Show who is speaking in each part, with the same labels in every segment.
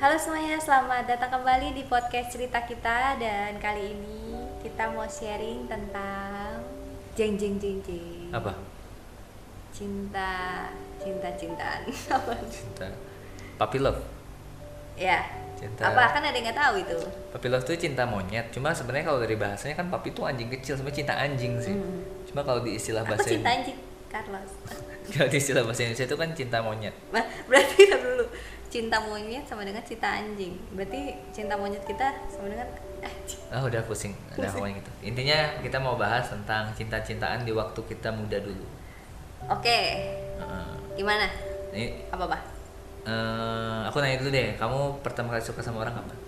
Speaker 1: Halo semuanya, selamat datang kembali di podcast cerita kita dan kali ini kita mau sharing tentang jeng jeng jeng jeng
Speaker 2: apa
Speaker 1: cinta cinta cintaan
Speaker 2: cinta puppy love
Speaker 1: ya
Speaker 2: cinta
Speaker 1: apa kan ada yang nggak tahu itu
Speaker 2: puppy love tuh cinta monyet cuma sebenarnya kalau dari bahasanya kan puppy tuh anjing kecil sebenarnya cinta anjing sih
Speaker 1: Hmm.
Speaker 2: cuma kalau di istilah
Speaker 1: aku
Speaker 2: bahasa
Speaker 1: cinta anjing Carlos
Speaker 2: kalau di istilah bahasa Indonesia itu kan cinta monyet
Speaker 1: Bah, berarti kan dulu cinta monyet sama dengan cinta anjing berarti cinta monyet kita sama dengan eh, anjing
Speaker 2: ah udah pusing udah
Speaker 1: Pusing.
Speaker 2: pokoknya gitu intinya kita mau bahas tentang cinta-cintaan di waktu kita muda dulu
Speaker 1: oke
Speaker 2: Heeh.
Speaker 1: gimana
Speaker 2: ini
Speaker 1: apa bah
Speaker 2: eh, aku nanya dulu deh kamu pertama kali suka sama orang kapan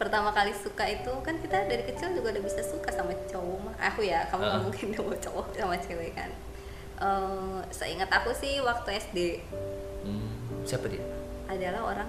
Speaker 1: pertama kali suka itu kan kita dari kecil juga udah bisa suka sama cowok mah aku ya kamu nggak
Speaker 2: Heeh.
Speaker 1: mungkin sama cowok sama cewek kan Eh, seingat aku sih waktu SD
Speaker 2: Hmm, siapa dia
Speaker 1: adalah orang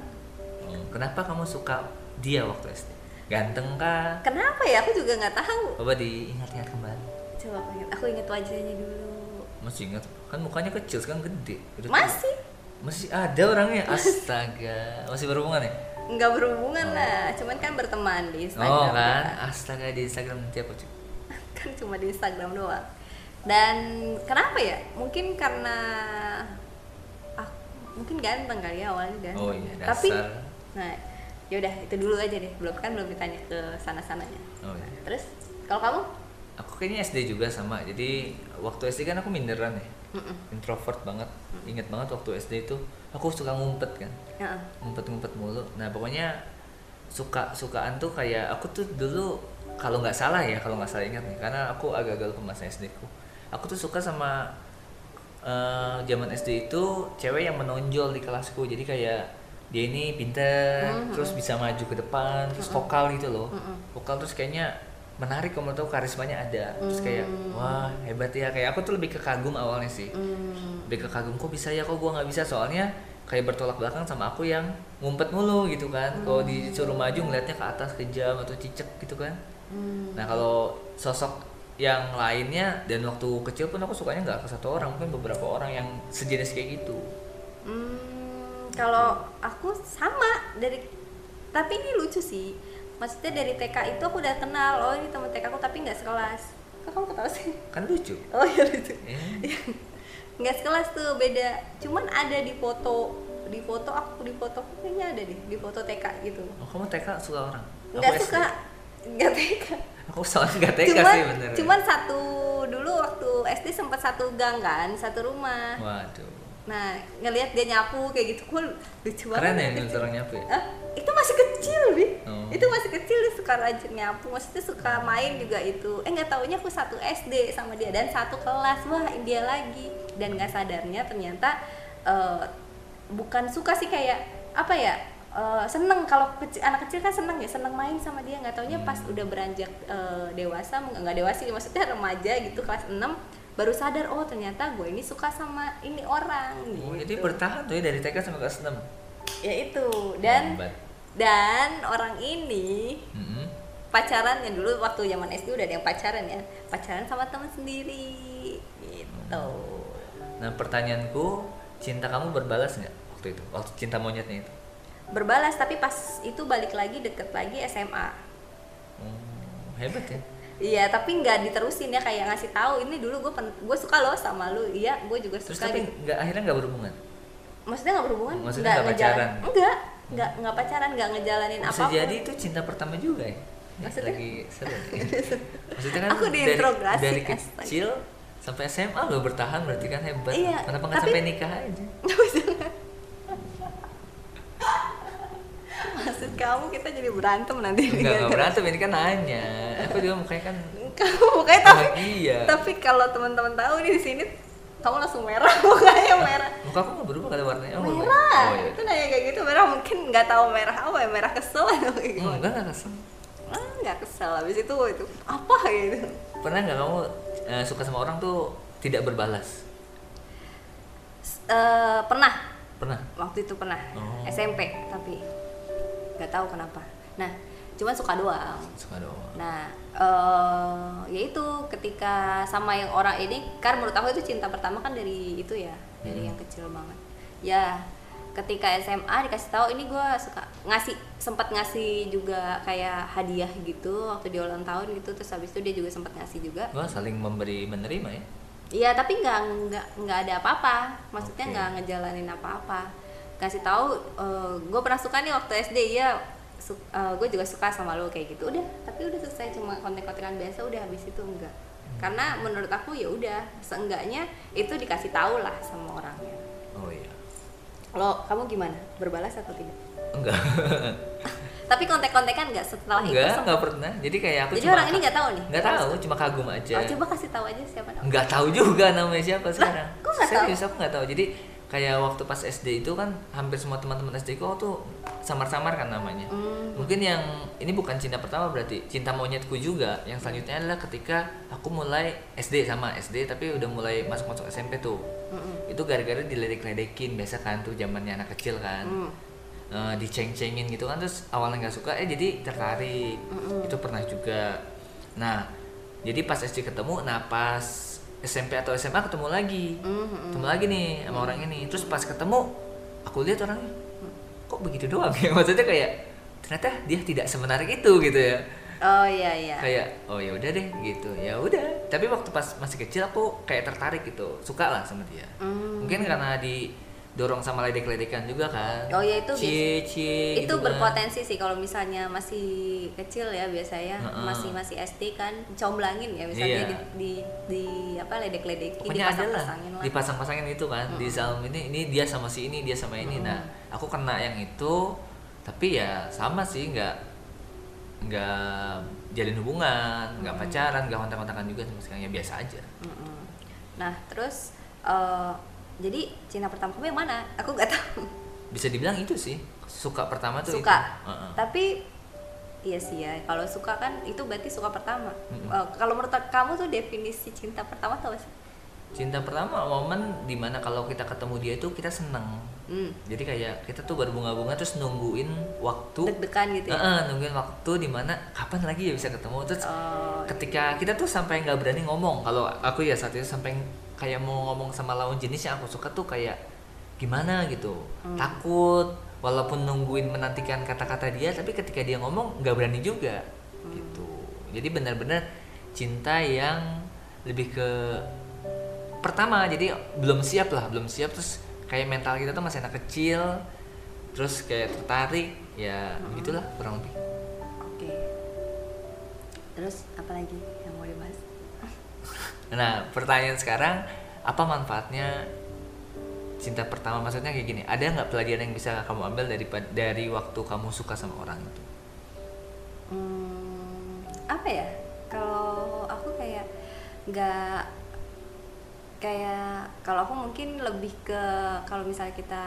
Speaker 2: Hmm, kenapa kamu suka dia waktu SD ganteng kah
Speaker 1: kenapa ya aku juga nggak tahu
Speaker 2: coba diingat-ingat kembali
Speaker 1: coba aku ingat aku ingat wajahnya dulu
Speaker 2: Masih ingat kan mukanya kecil sekarang gede. Udah tua.
Speaker 1: masih
Speaker 2: Masih ada orangnya. Astaga. Masih berhubungan ya?
Speaker 1: nggak berhubungan
Speaker 2: Oh.
Speaker 1: lah cuman kan berteman di
Speaker 2: oh
Speaker 1: Instagram
Speaker 2: kan.
Speaker 1: ya.
Speaker 2: Astaga di Instagram nanti aku cek.
Speaker 1: kan cuma di Instagram doang dan kenapa ya mungkin karena aku mungkin ganteng kali ya awalnya ganteng
Speaker 2: Oh iya,
Speaker 1: tapi
Speaker 2: dasar.
Speaker 1: nah yaudah itu dulu aja deh belum kan belum ditanya ke sana sananya
Speaker 2: Oh iya.
Speaker 1: terus kalau kamu
Speaker 2: Aku kayaknya SD juga sama. Jadi waktu SD kan aku minderan ya.
Speaker 1: Mm-mm.
Speaker 2: Introvert banget. Ingat banget waktu SD itu aku suka ngumpet kan.
Speaker 1: Heeh.
Speaker 2: Ngumpet-ngumpet mulu. Nah, pokoknya suka-sukaan tuh kayak aku tuh dulu kalau nggak salah ya, kalau nggak salah ingat nih, karena aku agak-agak lupa masa SD ku. Aku tuh suka sama eh, zaman SD itu cewek yang menonjol di kelasku. Jadi kayak dia ini pinter,
Speaker 1: Mhm.
Speaker 2: terus bisa maju ke depan, terus vokal gitu loh.
Speaker 1: Mhm.
Speaker 2: Vokal terus kayaknya menarik kalau menurut aku karismanya ada. Terus kayak
Speaker 1: Hmm.
Speaker 2: wah, hebat ya. Kayak aku tuh lebih ke kagum awalnya sih
Speaker 1: Hmm.
Speaker 2: lebih ke kagum kok bisa ya kok gua nggak bisa soalnya kayak bertolak belakang sama aku yang ngumpet mulu gitu kan kalau disuruh maju ngeliatnya ke atas ke jam atau cicek gitu kan
Speaker 1: Hmm.
Speaker 2: nah kalau sosok yang lainnya dan waktu kecil pun aku sukanya nggak ke satu orang mungkin beberapa orang yang sejenis kayak gitu
Speaker 1: Hmm, kalau aku sama dari tapi ini lucu sih. Maksudnya dari TK itu aku udah kenal oh ini teman TK aku tapi nggak sekelas. Kok kamu ketawa sih?
Speaker 2: kan lucu
Speaker 1: Oh iya lucu.
Speaker 2: ya.
Speaker 1: Nggak sekelas tuh beda. Cuman ada di foto di foto aku di foto aku kayaknya ada deh di foto TK gitu.
Speaker 2: oh, kamu TK suka orang Aku
Speaker 1: Nggak
Speaker 2: SD.
Speaker 1: suka nggak TK.
Speaker 2: aku soalnya nggak TK
Speaker 1: cuman
Speaker 2: sih bener
Speaker 1: cuman satu dulu waktu SD sempat satu gang kan satu rumah.
Speaker 2: waduh
Speaker 1: Nah ngelihat dia nyapu kayak gitu, kok lucu banget.
Speaker 2: keren ya ngeliat orang nyapu ya
Speaker 1: Hah? itu masih kecil bi
Speaker 2: Oh.
Speaker 1: itu masih kecil dia suka rajin nyapu maksudnya suka main juga itu eh nggak taunya aku satu SD sama dia dan satu kelas wah dia lagi dan nggak sadarnya ternyata eh, bukan suka sih kayak apa ya eh, seneng kalau kecil, anak kecil kan seneng ya seneng main sama dia nggak taunya
Speaker 2: Hmm.
Speaker 1: pas udah beranjak eh, dewasa nggak nggak dewasa sih maksudnya remaja gitu kelas 6 baru sadar oh ternyata gue ini suka sama ini orang
Speaker 2: Oh,
Speaker 1: gitu.
Speaker 2: jadi bertahan tuh ya dari TK sampai kelas 6
Speaker 1: ya itu dan
Speaker 2: Hebat.
Speaker 1: dan orang ini
Speaker 2: Mm-mm.
Speaker 1: pacaran yang dulu waktu zaman SD udah ada yang pacaran ya pacaran sama teman sendiri gitu
Speaker 2: Nah pertanyaanku, cinta kamu berbalas nggak waktu itu? Waktu cinta monyetnya itu?
Speaker 1: berbalas tapi pas itu balik lagi deket lagi SMA
Speaker 2: Hmm, hebat ya.
Speaker 1: iya tapi nggak diterusin ya kayak ngasih tahu ini dulu gue gue suka lo sama lu iya gue juga
Speaker 2: Terus
Speaker 1: suka
Speaker 2: tapi
Speaker 1: gitu.
Speaker 2: nggak akhirnya nggak berhubungan?
Speaker 1: maksudnya nggak berhubungan
Speaker 2: Maksudnya
Speaker 1: nggak
Speaker 2: nggak
Speaker 1: ngejalan-
Speaker 2: pacaran?
Speaker 1: enggak nggak nggak pacaran nggak ngejalanin
Speaker 2: Bisa
Speaker 1: apa
Speaker 2: jadi itu cinta pertama juga ya. Ini
Speaker 1: Maksudnya?
Speaker 2: Lagi seru. nih. Maksudnya kan
Speaker 1: Aku
Speaker 2: dari,
Speaker 1: diintrogasi,
Speaker 2: dari
Speaker 1: astaga.
Speaker 2: kecil sampai SMA lo bertahan berarti kan hebat.
Speaker 1: Iya,
Speaker 2: Kenapa nggak
Speaker 1: tapi-
Speaker 2: sampai nikah aja?
Speaker 1: maksud kamu kita jadi berantem nanti
Speaker 2: Enggak, nggak berantem ini kan nanya. Aku juga mukanya kan
Speaker 1: kamu mukanya tapi
Speaker 2: bahagia.
Speaker 1: tapi kalau teman-teman tahu nih di sini kamu langsung merah mukanya merah
Speaker 2: Muka aku nggak berubah kali warnanya. Oh, berubah.
Speaker 1: merah
Speaker 2: Oh, iya.
Speaker 1: itu nanya kayak gitu merah mungkin nggak tahu merah apa ya merah kesel atau kayak
Speaker 2: Hmm,
Speaker 1: gimana
Speaker 2: Enggak nggak kesel.
Speaker 1: Ah, nggak kesel habis itu itu apa gitu
Speaker 2: Pernah nggak kamu eh, suka sama orang tuh tidak berbalas?
Speaker 1: S- eh, pernah
Speaker 2: Pernah?
Speaker 1: waktu itu pernah
Speaker 2: Oh.
Speaker 1: SMP tapi nggak tahu kenapa nah cuman suka doang
Speaker 2: Suka doang.
Speaker 1: Nah, eh yaitu ketika sama yang orang ini, kan menurut aku itu cinta pertama kan dari itu ya, dari
Speaker 2: Hmm.
Speaker 1: yang kecil banget. Ya, ketika SMA dikasih tahu ini gue suka ngasih sempat ngasih juga kayak hadiah gitu waktu dia ulang tahun gitu terus habis itu dia juga sempat ngasih juga
Speaker 2: Wah saling memberi menerima ya.
Speaker 1: Iya tapi nggak nggak nggak ada apa-apa, maksudnya
Speaker 2: Oke.
Speaker 1: nggak ngejalanin apa-apa. Kasih tahu, gue pernah suka nih waktu SD ya, gue juga suka sama lo kayak gitu. Udah, tapi udah selesai cuma konten-kontenan biasa udah habis itu enggak. Karena menurut aku ya udah, seenggaknya itu dikasih tahu lah sama orangnya.
Speaker 2: Oh iya.
Speaker 1: Lo kamu gimana? Berbalas atau tidak?
Speaker 2: Enggak.
Speaker 1: Tapi kontek-kontekan nggak setelah
Speaker 2: enggak,
Speaker 1: itu?
Speaker 2: enggak pernah. Jadi kayak aku
Speaker 1: Jadi
Speaker 2: cuma
Speaker 1: orang ini nggak tahu nih?
Speaker 2: Enggak tahu, cuma kagum aja.
Speaker 1: Oh, coba kasih tahu aja siapa namanya.
Speaker 2: nggak tahu juga namanya siapa sekarang.
Speaker 1: kok nggak tahu?
Speaker 2: Serius aku nggak tahu. Jadi kayak waktu pas SD itu kan hampir semua teman-teman SD ku tuh samar-samar kan namanya.
Speaker 1: Hmm.
Speaker 2: Mungkin yang ini bukan cinta pertama berarti cinta monyetku juga. Yang selanjutnya adalah ketika aku mulai SD sama SD tapi udah mulai masuk-masuk SMP tuh.
Speaker 1: Mm-mm.
Speaker 2: Itu gara-gara diledek-ledekin biasa kan tuh zamannya anak kecil kan.
Speaker 1: Mm.
Speaker 2: Eh, diceng-cengin gitu kan terus awalnya nggak suka eh jadi tertarik
Speaker 1: Mm-mm.
Speaker 2: itu pernah juga nah jadi pas SD ketemu nah pas SMP atau SMA ketemu
Speaker 1: hmm,
Speaker 2: lagi
Speaker 1: Mm-mm.
Speaker 2: ketemu lagi nih sama orang ini terus pas ketemu aku lihat orangnya kok begitu doang ya maksudnya kayak ternyata dia tidak semenarik itu gitu ya
Speaker 1: Oh iya iya.
Speaker 2: kayak oh ya udah deh gitu ya udah tapi waktu pas masih kecil aku kayak tertarik gitu suka lah sama dia
Speaker 1: Hmm.
Speaker 2: mungkin karena didorong sama ledek-ledekan juga kan
Speaker 1: Oh, ya, itu
Speaker 2: cie cie
Speaker 1: itu
Speaker 2: gitu kan.
Speaker 1: berpotensi sih kalau misalnya masih kecil ya biasanya
Speaker 2: Heeh.
Speaker 1: masih masih SD kan comblangin ya misalnya
Speaker 2: Iya.
Speaker 1: di, di di apa ledek-ledekin
Speaker 2: pokoknya ada lah
Speaker 1: dipasang-pasangin lah.
Speaker 2: dipasang-pasangin itu kan di Zalm ini ini dia sama si ini dia sama ini nah aku kena yang itu tapi ya sama sih nggak nggak jalin hubungan nggak pacaran nggak kontak-kontakan juga sama sekali ya biasa aja
Speaker 1: Mm-mm. Nah terus eh, jadi cinta pertama kamu yang mana? Aku nggak tahu.
Speaker 2: bisa dibilang itu sih suka pertama tuh
Speaker 1: Suka.
Speaker 2: itu Heeh.
Speaker 1: Tapi iya sih ya kalau suka kan itu berarti suka pertama.
Speaker 2: Mm-mm.
Speaker 1: Eh, kalau menurut kamu tuh definisi cinta pertama tuh apa sih?
Speaker 2: cinta pertama momen dimana kalau kita ketemu dia itu kita seneng
Speaker 1: Hmm,
Speaker 2: jadi kayak kita tuh berbunga-bunga terus nungguin waktu
Speaker 1: deg-degan gitu ya.
Speaker 2: Heeh, nungguin waktu dimana kapan lagi ya bisa ketemu terus
Speaker 1: Oh,
Speaker 2: ketika kita tuh sampai nggak berani ngomong kalau aku ya saat itu sampai kayak mau ngomong sama lawan jenis yang aku suka tuh kayak gimana gitu takut walaupun nungguin menantikan kata-kata dia tapi ketika dia ngomong nggak berani juga gitu jadi benar-benar cinta yang lebih ke pertama jadi belum siap lah belum siap terus kayak mental kita tuh masih anak kecil terus kayak tertarik ya begitulah kurang lebih
Speaker 1: Oke. Terus apa lagi yang mau dibahas?
Speaker 2: Nah, pertanyaan sekarang, apa manfaatnya cinta pertama? Maksudnya kayak gini, ada nggak pelajaran yang bisa kamu ambil dari dari waktu kamu suka sama orang itu?
Speaker 1: Hmm, apa ya? Kalau aku kayak nggak kayak kalau aku mungkin lebih ke kalau misalnya kita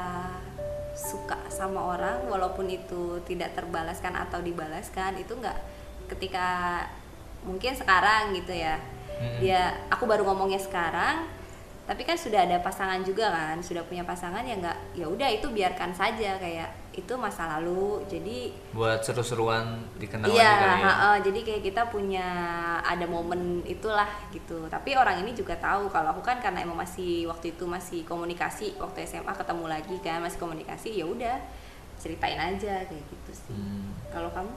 Speaker 1: suka sama orang walaupun itu tidak terbalaskan atau dibalaskan itu nggak ketika mungkin sekarang gitu ya
Speaker 2: Mm-mm.
Speaker 1: dia aku baru ngomongnya sekarang tapi kan sudah ada pasangan juga kan sudah punya pasangan ya nggak ya udah itu biarkan saja kayak itu masa lalu jadi
Speaker 2: Buat seru-seruan dikenal
Speaker 1: Iya,
Speaker 2: lagi kali ya.
Speaker 1: heeh, jadi kayak kita punya ada momen itulah gitu. Tapi orang ini juga tahu kalau aku kan karena emang masih waktu itu masih komunikasi waktu SMA ketemu lagi kan masih komunikasi ya udah ceritain aja kayak gitu sih.
Speaker 2: Hmm.
Speaker 1: Kalau kamu?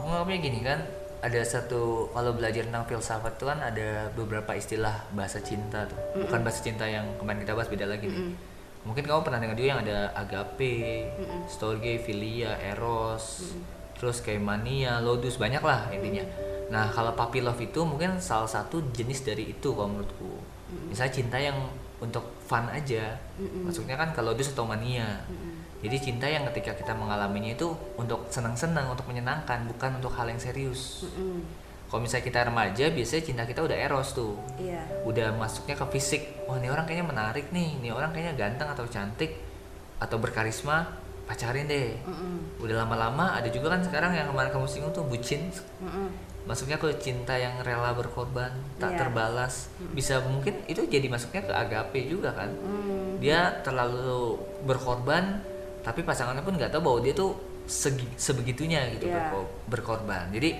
Speaker 2: Aku nganggapnya gini kan, ada satu kalau belajar tentang filsafat tuh kan ada beberapa istilah bahasa cinta tuh. Bukan bahasa cinta yang kemarin kita bahas beda lagi nih. Mungkin kamu pernah dengar juga yang ada agape, storge, filia, eros, terus kayak mania, lodus banyak lah intinya. Nah kalau puppy love itu mungkin salah satu jenis dari itu kalau menurutku. Misalnya cinta yang untuk fun aja, maksudnya kan kalau lodus atau mania. Jadi cinta yang ketika kita mengalaminya itu untuk senang-senang, untuk menyenangkan, bukan untuk hal yang serius.
Speaker 1: Mm-mm.
Speaker 2: Kalau misalnya kita remaja, biasanya cinta kita udah eros tuh.
Speaker 1: Iya.
Speaker 2: Udah masuknya ke fisik. Wah, ini orang kayaknya menarik nih. Ini orang kayaknya ganteng atau cantik atau berkarisma, pacarin deh.
Speaker 1: Mm-mm.
Speaker 2: Udah lama-lama ada juga kan sekarang yang kemarin kamu singgung tuh bucin.
Speaker 1: Mm-mm.
Speaker 2: Maksudnya ke cinta yang rela berkorban, tak
Speaker 1: Iya.
Speaker 2: terbalas. Bisa mungkin itu jadi masuknya ke agape juga kan
Speaker 1: Mm.
Speaker 2: dia terlalu berkorban tapi pasangannya pun nggak tahu bahwa dia tuh segi, sebegitunya gitu
Speaker 1: Iya.
Speaker 2: berko- berkorban jadi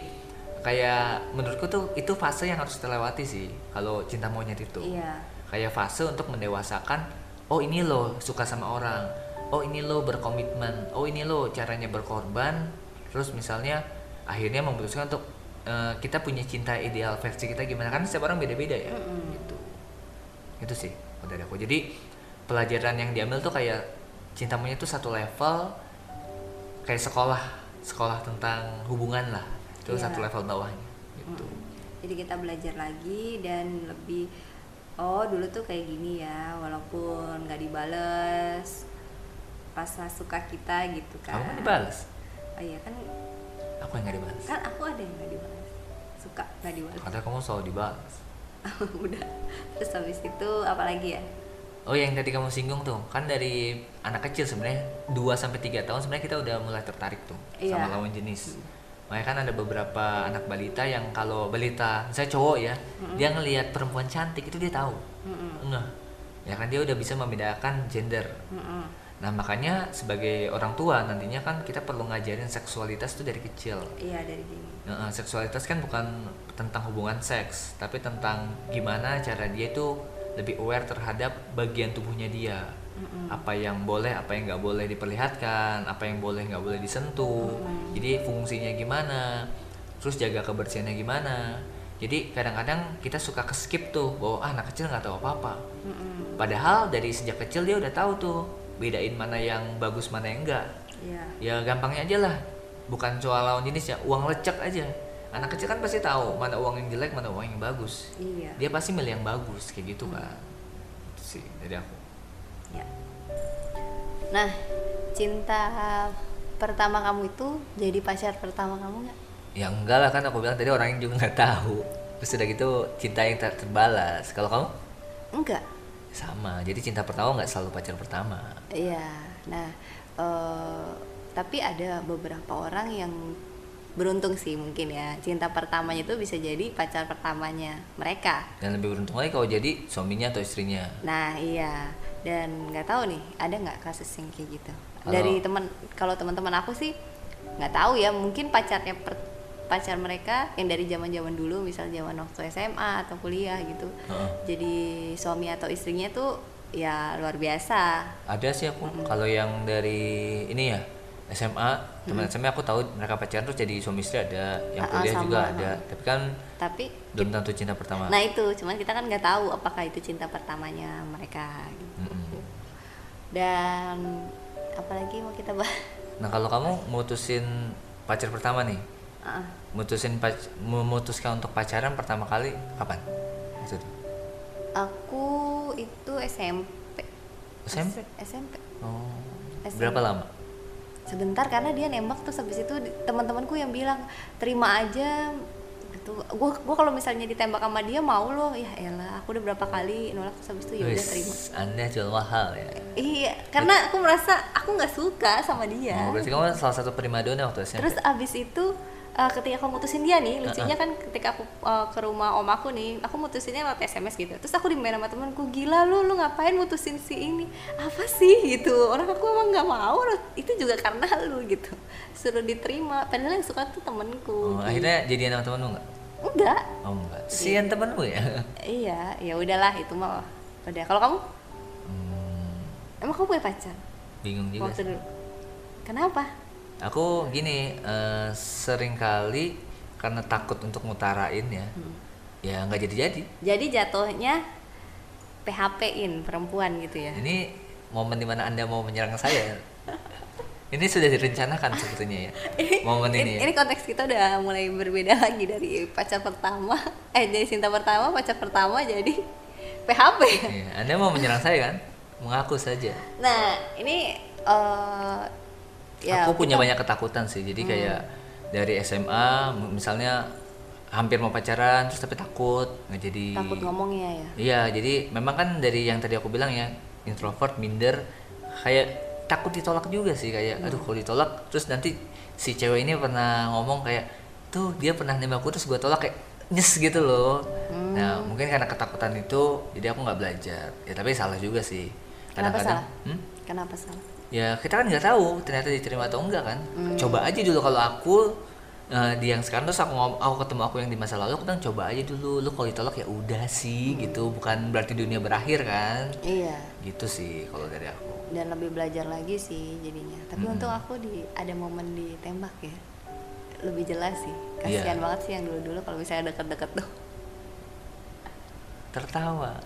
Speaker 2: kayak menurutku tuh itu fase yang harus terlewati sih kalau cinta monyet itu
Speaker 1: Iya.
Speaker 2: kayak fase untuk mendewasakan oh ini loh suka sama orang oh ini lo berkomitmen oh ini lo caranya berkorban terus misalnya akhirnya memutuskan untuk eh, kita punya cinta ideal versi kita gimana kan setiap orang beda-beda ya
Speaker 1: Mm-mm.
Speaker 2: gitu itu sih kalau dari aku jadi pelajaran yang diambil tuh kayak cinta monyet tuh satu level kayak sekolah sekolah tentang hubungan lah itu
Speaker 1: Iya.
Speaker 2: satu level bawahnya gitu
Speaker 1: Mm-mm. Jadi kita belajar lagi dan lebih oh dulu tuh kayak gini ya walaupun nggak dibales rasa suka kita gitu kan.
Speaker 2: kamu kan dibalas
Speaker 1: Oh iya kan
Speaker 2: aku yang nggak dibalas
Speaker 1: kan aku ada yang nggak dibales suka nggak dibales
Speaker 2: kata kamu selalu dibalas
Speaker 1: udah terus habis itu apalagi ya
Speaker 2: oh yang tadi kamu singgung tuh kan dari anak kecil sebenarnya 2 sampai tiga tahun sebenarnya kita udah mulai tertarik tuh
Speaker 1: Iya.
Speaker 2: sama lawan jenis makanya kan ada beberapa anak balita yang kalau balita saya cowok ya dia ngelihat perempuan cantik itu dia tahu
Speaker 1: Mm-mm.
Speaker 2: Ngeh. ya kan dia udah bisa membedakan gender
Speaker 1: Mm-mm.
Speaker 2: nah makanya sebagai orang tua nantinya kan kita perlu ngajarin seksualitas tuh dari kecil
Speaker 1: iya dari gini
Speaker 2: Nah, eh, seksualitas kan bukan tentang hubungan seks tapi tentang gimana cara dia itu lebih aware terhadap bagian tubuhnya dia
Speaker 1: Mm-mm.
Speaker 2: apa yang boleh apa yang nggak boleh diperlihatkan apa yang boleh nggak boleh disentuh
Speaker 1: Mm.
Speaker 2: jadi fungsinya gimana terus jaga kebersihannya gimana jadi kadang-kadang kita suka keskip tuh bahwa ah, anak kecil nggak tahu apa-apa
Speaker 1: Mm-mm.
Speaker 2: Padahal dari sejak kecil dia udah tahu tuh bedain mana yang bagus mana yang enggak.
Speaker 1: iya
Speaker 2: Ya gampangnya aja lah. Bukan soal lawan jenis ya, uang lecek aja. Anak kecil kan pasti tahu mana uang yang jelek, mana uang yang bagus.
Speaker 1: iya
Speaker 2: Dia pasti milih yang bagus kayak gitu kan. Itu sih dari aku.
Speaker 1: Ya. Nah, cinta pertama kamu itu jadi pacar pertama kamu nggak?
Speaker 2: Ya enggak lah kan aku bilang tadi orangnya juga nggak tahu. Terus udah gitu cinta yang tak terbalas. Kalau kamu
Speaker 1: Enggak.
Speaker 2: sama. Jadi cinta pertama nggak selalu pacar pertama.
Speaker 1: Iya. Nah, eh, tapi ada beberapa orang yang beruntung sih mungkin ya cinta pertamanya itu bisa jadi pacar pertamanya mereka.
Speaker 2: Dan lebih beruntung lagi kalau jadi suaminya atau istrinya.
Speaker 1: Nah, iya. Dan nggak tahu nih, ada nggak kasus yang kayak gitu?
Speaker 2: Kalau-
Speaker 1: Dari teman, kalau teman-teman aku sih nggak tahu ya. Mungkin pacarnya per- pacar mereka yang dari zaman-zaman dulu, misal zaman waktu SMA atau kuliah gitu.
Speaker 2: Heeh.
Speaker 1: Jadi suami atau istrinya tuh ya luar biasa.
Speaker 2: ada sih aku kalau yang dari ini ya SMA teman SMA aku tahu mereka pacaran terus jadi suami istri ada yang
Speaker 1: Ah, ah,
Speaker 2: kuliah
Speaker 1: sama,
Speaker 2: juga
Speaker 1: ah.
Speaker 2: ada tapi kan
Speaker 1: Tapi
Speaker 2: belum tentu cinta pertama
Speaker 1: nah itu, cuman kita kan nggak tahu apakah itu cinta pertamanya mereka. Gitu.
Speaker 2: Mm-mm.
Speaker 1: Dan apalagi mau kita bahas?
Speaker 2: nah kalau kamu mutusin pacar pertama nih
Speaker 1: Ah.
Speaker 2: mutusin pac- memutuskan untuk pacaran pertama kali kapan maksudnya
Speaker 1: Aku itu SMP.
Speaker 2: SMP
Speaker 1: SMP.
Speaker 2: oh
Speaker 1: SMP.
Speaker 2: berapa lama
Speaker 1: Sebentar karena dia nembak terus habis itu di- teman-temanku yang bilang terima aja gitu. Gua gua kalau misalnya ditembak sama dia mau loh. Ya elah, aku udah berapa kali nolak terus habis itu ya udah
Speaker 2: Wis,
Speaker 1: terima.
Speaker 2: anda jual mahal ya
Speaker 1: Iya, karena aku merasa aku nggak suka sama dia.
Speaker 2: Oh, berarti kamu salah satu primadona waktu
Speaker 1: Iya.
Speaker 2: SMP
Speaker 1: Terus abis itu uh, ketika aku mutusin dia nih, lucunya
Speaker 2: Uh-uh.
Speaker 1: kan ketika aku uh, ke rumah om aku nih, aku mutusinnya lewat SMS gitu. Terus aku dimain sama temanku, gila lu, lu ngapain mutusin si ini? Apa sih gitu? Orang aku emang nggak mau, lu- itu juga karena lu gitu. Suruh diterima, padahal yang suka tuh temanku.
Speaker 2: oh, akhirnya jadian sama temanmu nggak
Speaker 1: Enggak,
Speaker 2: oh enggak sian temanmu ya
Speaker 1: iya, ya udahlah itu mah udah. Kalau kamu,
Speaker 2: Hmm,
Speaker 1: emang kamu punya pacar?
Speaker 2: bingung juga
Speaker 1: Waktu
Speaker 2: sih.
Speaker 1: dulu. Kenapa?
Speaker 2: aku gini eh, seringkali karena takut untuk ngutarain ya
Speaker 1: Hmm.
Speaker 2: ya nggak jadi jadi
Speaker 1: Jadi jatuhnya PHP-in perempuan gitu ya?
Speaker 2: ini momen dimana anda mau menyerang saya ini sudah direncanakan sepertinya ya momen ini ya.
Speaker 1: konteks kita udah mulai berbeda lagi dari pacar pertama eh dari cinta pertama pacar pertama jadi PHP
Speaker 2: Iya, anda mau menyerang saya kan mengaku saja
Speaker 1: nah ini eh ya Hmm.
Speaker 2: aku punya banyak ketakutan sih jadi kayak dari SMA m- misalnya hampir mau pacaran terus tapi takut nggak jadi
Speaker 1: takut ngomongnya ya
Speaker 2: Iya, jadi memang kan dari yang tadi aku bilang ya, introvert, minder, kayak takut ditolak juga sih kayak aduh
Speaker 1: Hmm.
Speaker 2: kalau ditolak terus nanti si cewek ini pernah ngomong kayak tuh dia pernah nembak aku terus gue tolak kayak nyes gitu loh.
Speaker 1: Hmm.
Speaker 2: Nah, mungkin karena ketakutan itu jadi aku nggak belajar. Ya tapi salah juga sih.
Speaker 1: Kenapa
Speaker 2: Kadang-kadang
Speaker 1: salah?
Speaker 2: Hmm?
Speaker 1: kenapa salah
Speaker 2: ya kita kan nggak tahu ternyata diterima atau enggak kan coba aja dulu kalau aku eh, di yang sekarang terus aku ngom- aku ketemu aku yang di masa lalu aku bilang coba aja dulu lu kalau ditolak ya udah sih gitu bukan berarti dunia berakhir kan
Speaker 1: iya
Speaker 2: gitu sih kalau dari aku
Speaker 1: dan lebih belajar lagi sih jadinya tapi
Speaker 2: Mm-mm.
Speaker 1: untung aku di ada momen ditembak ya lebih jelas sih kasihan
Speaker 2: Iya.
Speaker 1: banget sih yang dulu-dulu kalau misalnya deket-deket tuh
Speaker 2: tertawa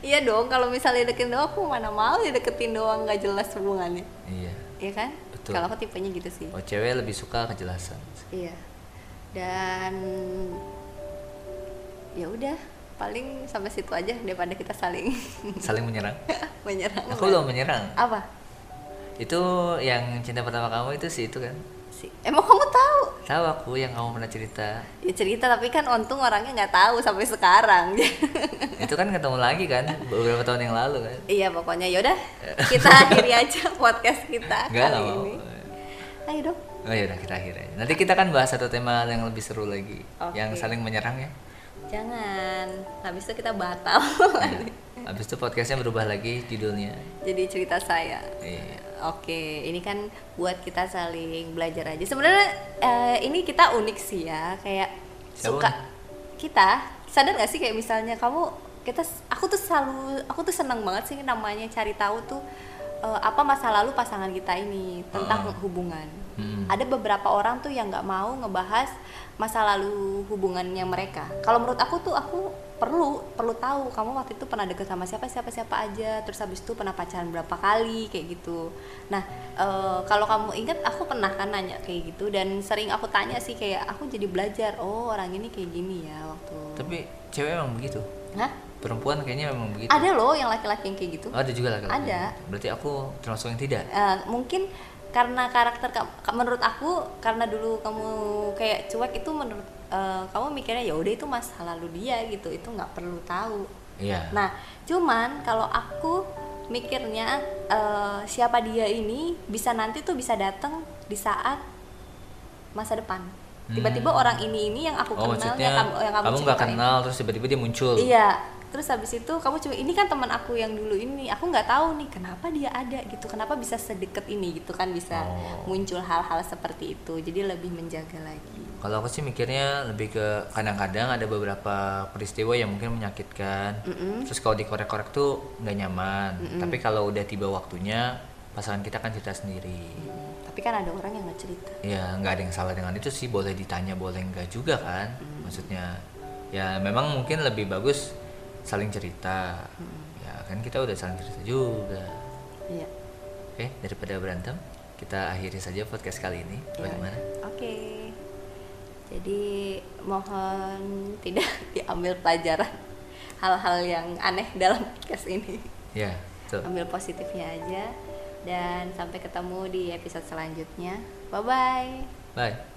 Speaker 1: iya dong kalau misalnya deketin doang aku mana mau dideketin doang nggak jelas hubungannya
Speaker 2: iya
Speaker 1: Iya kan
Speaker 2: Betul.
Speaker 1: kalau aku tipenya gitu sih
Speaker 2: oh cewek lebih suka kejelasan
Speaker 1: Iya. Dan ya udah, paling sampai situ aja daripada kita saling
Speaker 2: saling menyerang
Speaker 1: menyerang.
Speaker 2: aku belum menyerang
Speaker 1: Apa?
Speaker 2: itu yang cinta pertama kamu itu sih itu kan
Speaker 1: Si Emang kamu tahu?
Speaker 2: tahu aku yang kamu pernah cerita
Speaker 1: Ya cerita tapi kan untung orangnya nggak tahu sampai sekarang.
Speaker 2: itu kan ketemu lagi kan beberapa tahun yang lalu kan
Speaker 1: iya pokoknya yaudah kita akhiri aja podcast kita
Speaker 2: enggak
Speaker 1: kali
Speaker 2: nggak mau
Speaker 1: ini. Ayo dong.
Speaker 2: oh ya udah kita akhir aja nanti kita kan bahas satu tema yang lebih seru lagi
Speaker 1: Oke.
Speaker 2: yang saling menyerang ya
Speaker 1: Jangan. Habis itu kita batal.
Speaker 2: Nah, habis itu podcastnya berubah lagi judulnya
Speaker 1: Jadi cerita saya.
Speaker 2: iya
Speaker 1: Oke, ini kan buat kita saling belajar aja. Sebenarnya eh, ini kita unik sih ya, kayak
Speaker 2: Siapa
Speaker 1: suka
Speaker 2: unik?
Speaker 1: kita sadar gak sih kayak misalnya kamu kita aku tuh selalu aku tuh seneng banget sih namanya cari tahu tuh eh, apa masa lalu pasangan kita ini tentang
Speaker 2: Heeh.
Speaker 1: hubungan.
Speaker 2: Ah. Hmm.
Speaker 1: Ada beberapa orang tuh yang nggak mau ngebahas masa lalu hubungannya mereka. Kalau menurut aku tuh aku perlu perlu tahu kamu waktu itu pernah deket sama siapa siapa siapa aja terus habis itu pernah pacaran berapa kali kayak gitu nah eh, kalau kamu ingat aku pernah kan nanya kayak gitu dan sering aku tanya sih kayak aku jadi belajar oh orang ini kayak gini ya waktu
Speaker 2: tapi cewek emang begitu
Speaker 1: Hah?
Speaker 2: perempuan kayaknya memang begitu
Speaker 1: ada loh yang laki-laki yang kayak gitu
Speaker 2: Oh, ada juga laki-laki
Speaker 1: Ada.
Speaker 2: berarti aku termasuk yang tidak
Speaker 1: Eh, mungkin karena karakter ka- ka- menurut aku karena dulu kamu kayak cuek itu menurut eh, kamu mikirnya ya udah itu masa lalu dia gitu itu nggak perlu tahu
Speaker 2: iya
Speaker 1: nah cuman kalau aku mikirnya eh, siapa dia ini bisa nanti tuh bisa datang di saat masa depan tiba-tiba
Speaker 2: Hmm.
Speaker 1: orang ini ini yang aku
Speaker 2: oh
Speaker 1: kenal
Speaker 2: maksudnya
Speaker 1: yang kamu yang kamu,
Speaker 2: nggak
Speaker 1: ceritain.
Speaker 2: kenal terus tiba-tiba dia muncul
Speaker 1: Iya, terus habis itu kamu cuma ini kan teman aku yang dulu ini, aku nggak tahu nih kenapa dia ada gitu, kenapa bisa sedekat ini gitu kan bisa
Speaker 2: Oh.
Speaker 1: muncul hal-hal seperti itu, jadi lebih menjaga lagi.
Speaker 2: Kalau aku sih mikirnya lebih ke kadang-kadang ada beberapa peristiwa yang mungkin menyakitkan.
Speaker 1: Mm-mm.
Speaker 2: Terus kalau dikorek-korek tuh nggak nyaman. Tapi kalau udah tiba waktunya, pasangan kita akan cerita sendiri.
Speaker 1: Tapi kan ada orang yang nggak cerita.
Speaker 2: Ya nggak ada yang salah dengan itu sih. Boleh ditanya, boleh nggak juga kan? Maksudnya, ya memang mungkin lebih bagus saling cerita. Ya kan kita udah saling cerita juga.
Speaker 1: Iya.
Speaker 2: Oke, daripada berantem, kita akhiri saja podcast kali ini.
Speaker 1: Ya.
Speaker 2: Bagaimana?
Speaker 1: Oke. Jadi mohon tidak diambil pelajaran hal-hal yang aneh dalam podcast ini.
Speaker 2: Ya, betul.
Speaker 1: Ambil positifnya aja dan sampai ketemu di episode selanjutnya. Bye bye.
Speaker 2: Bye.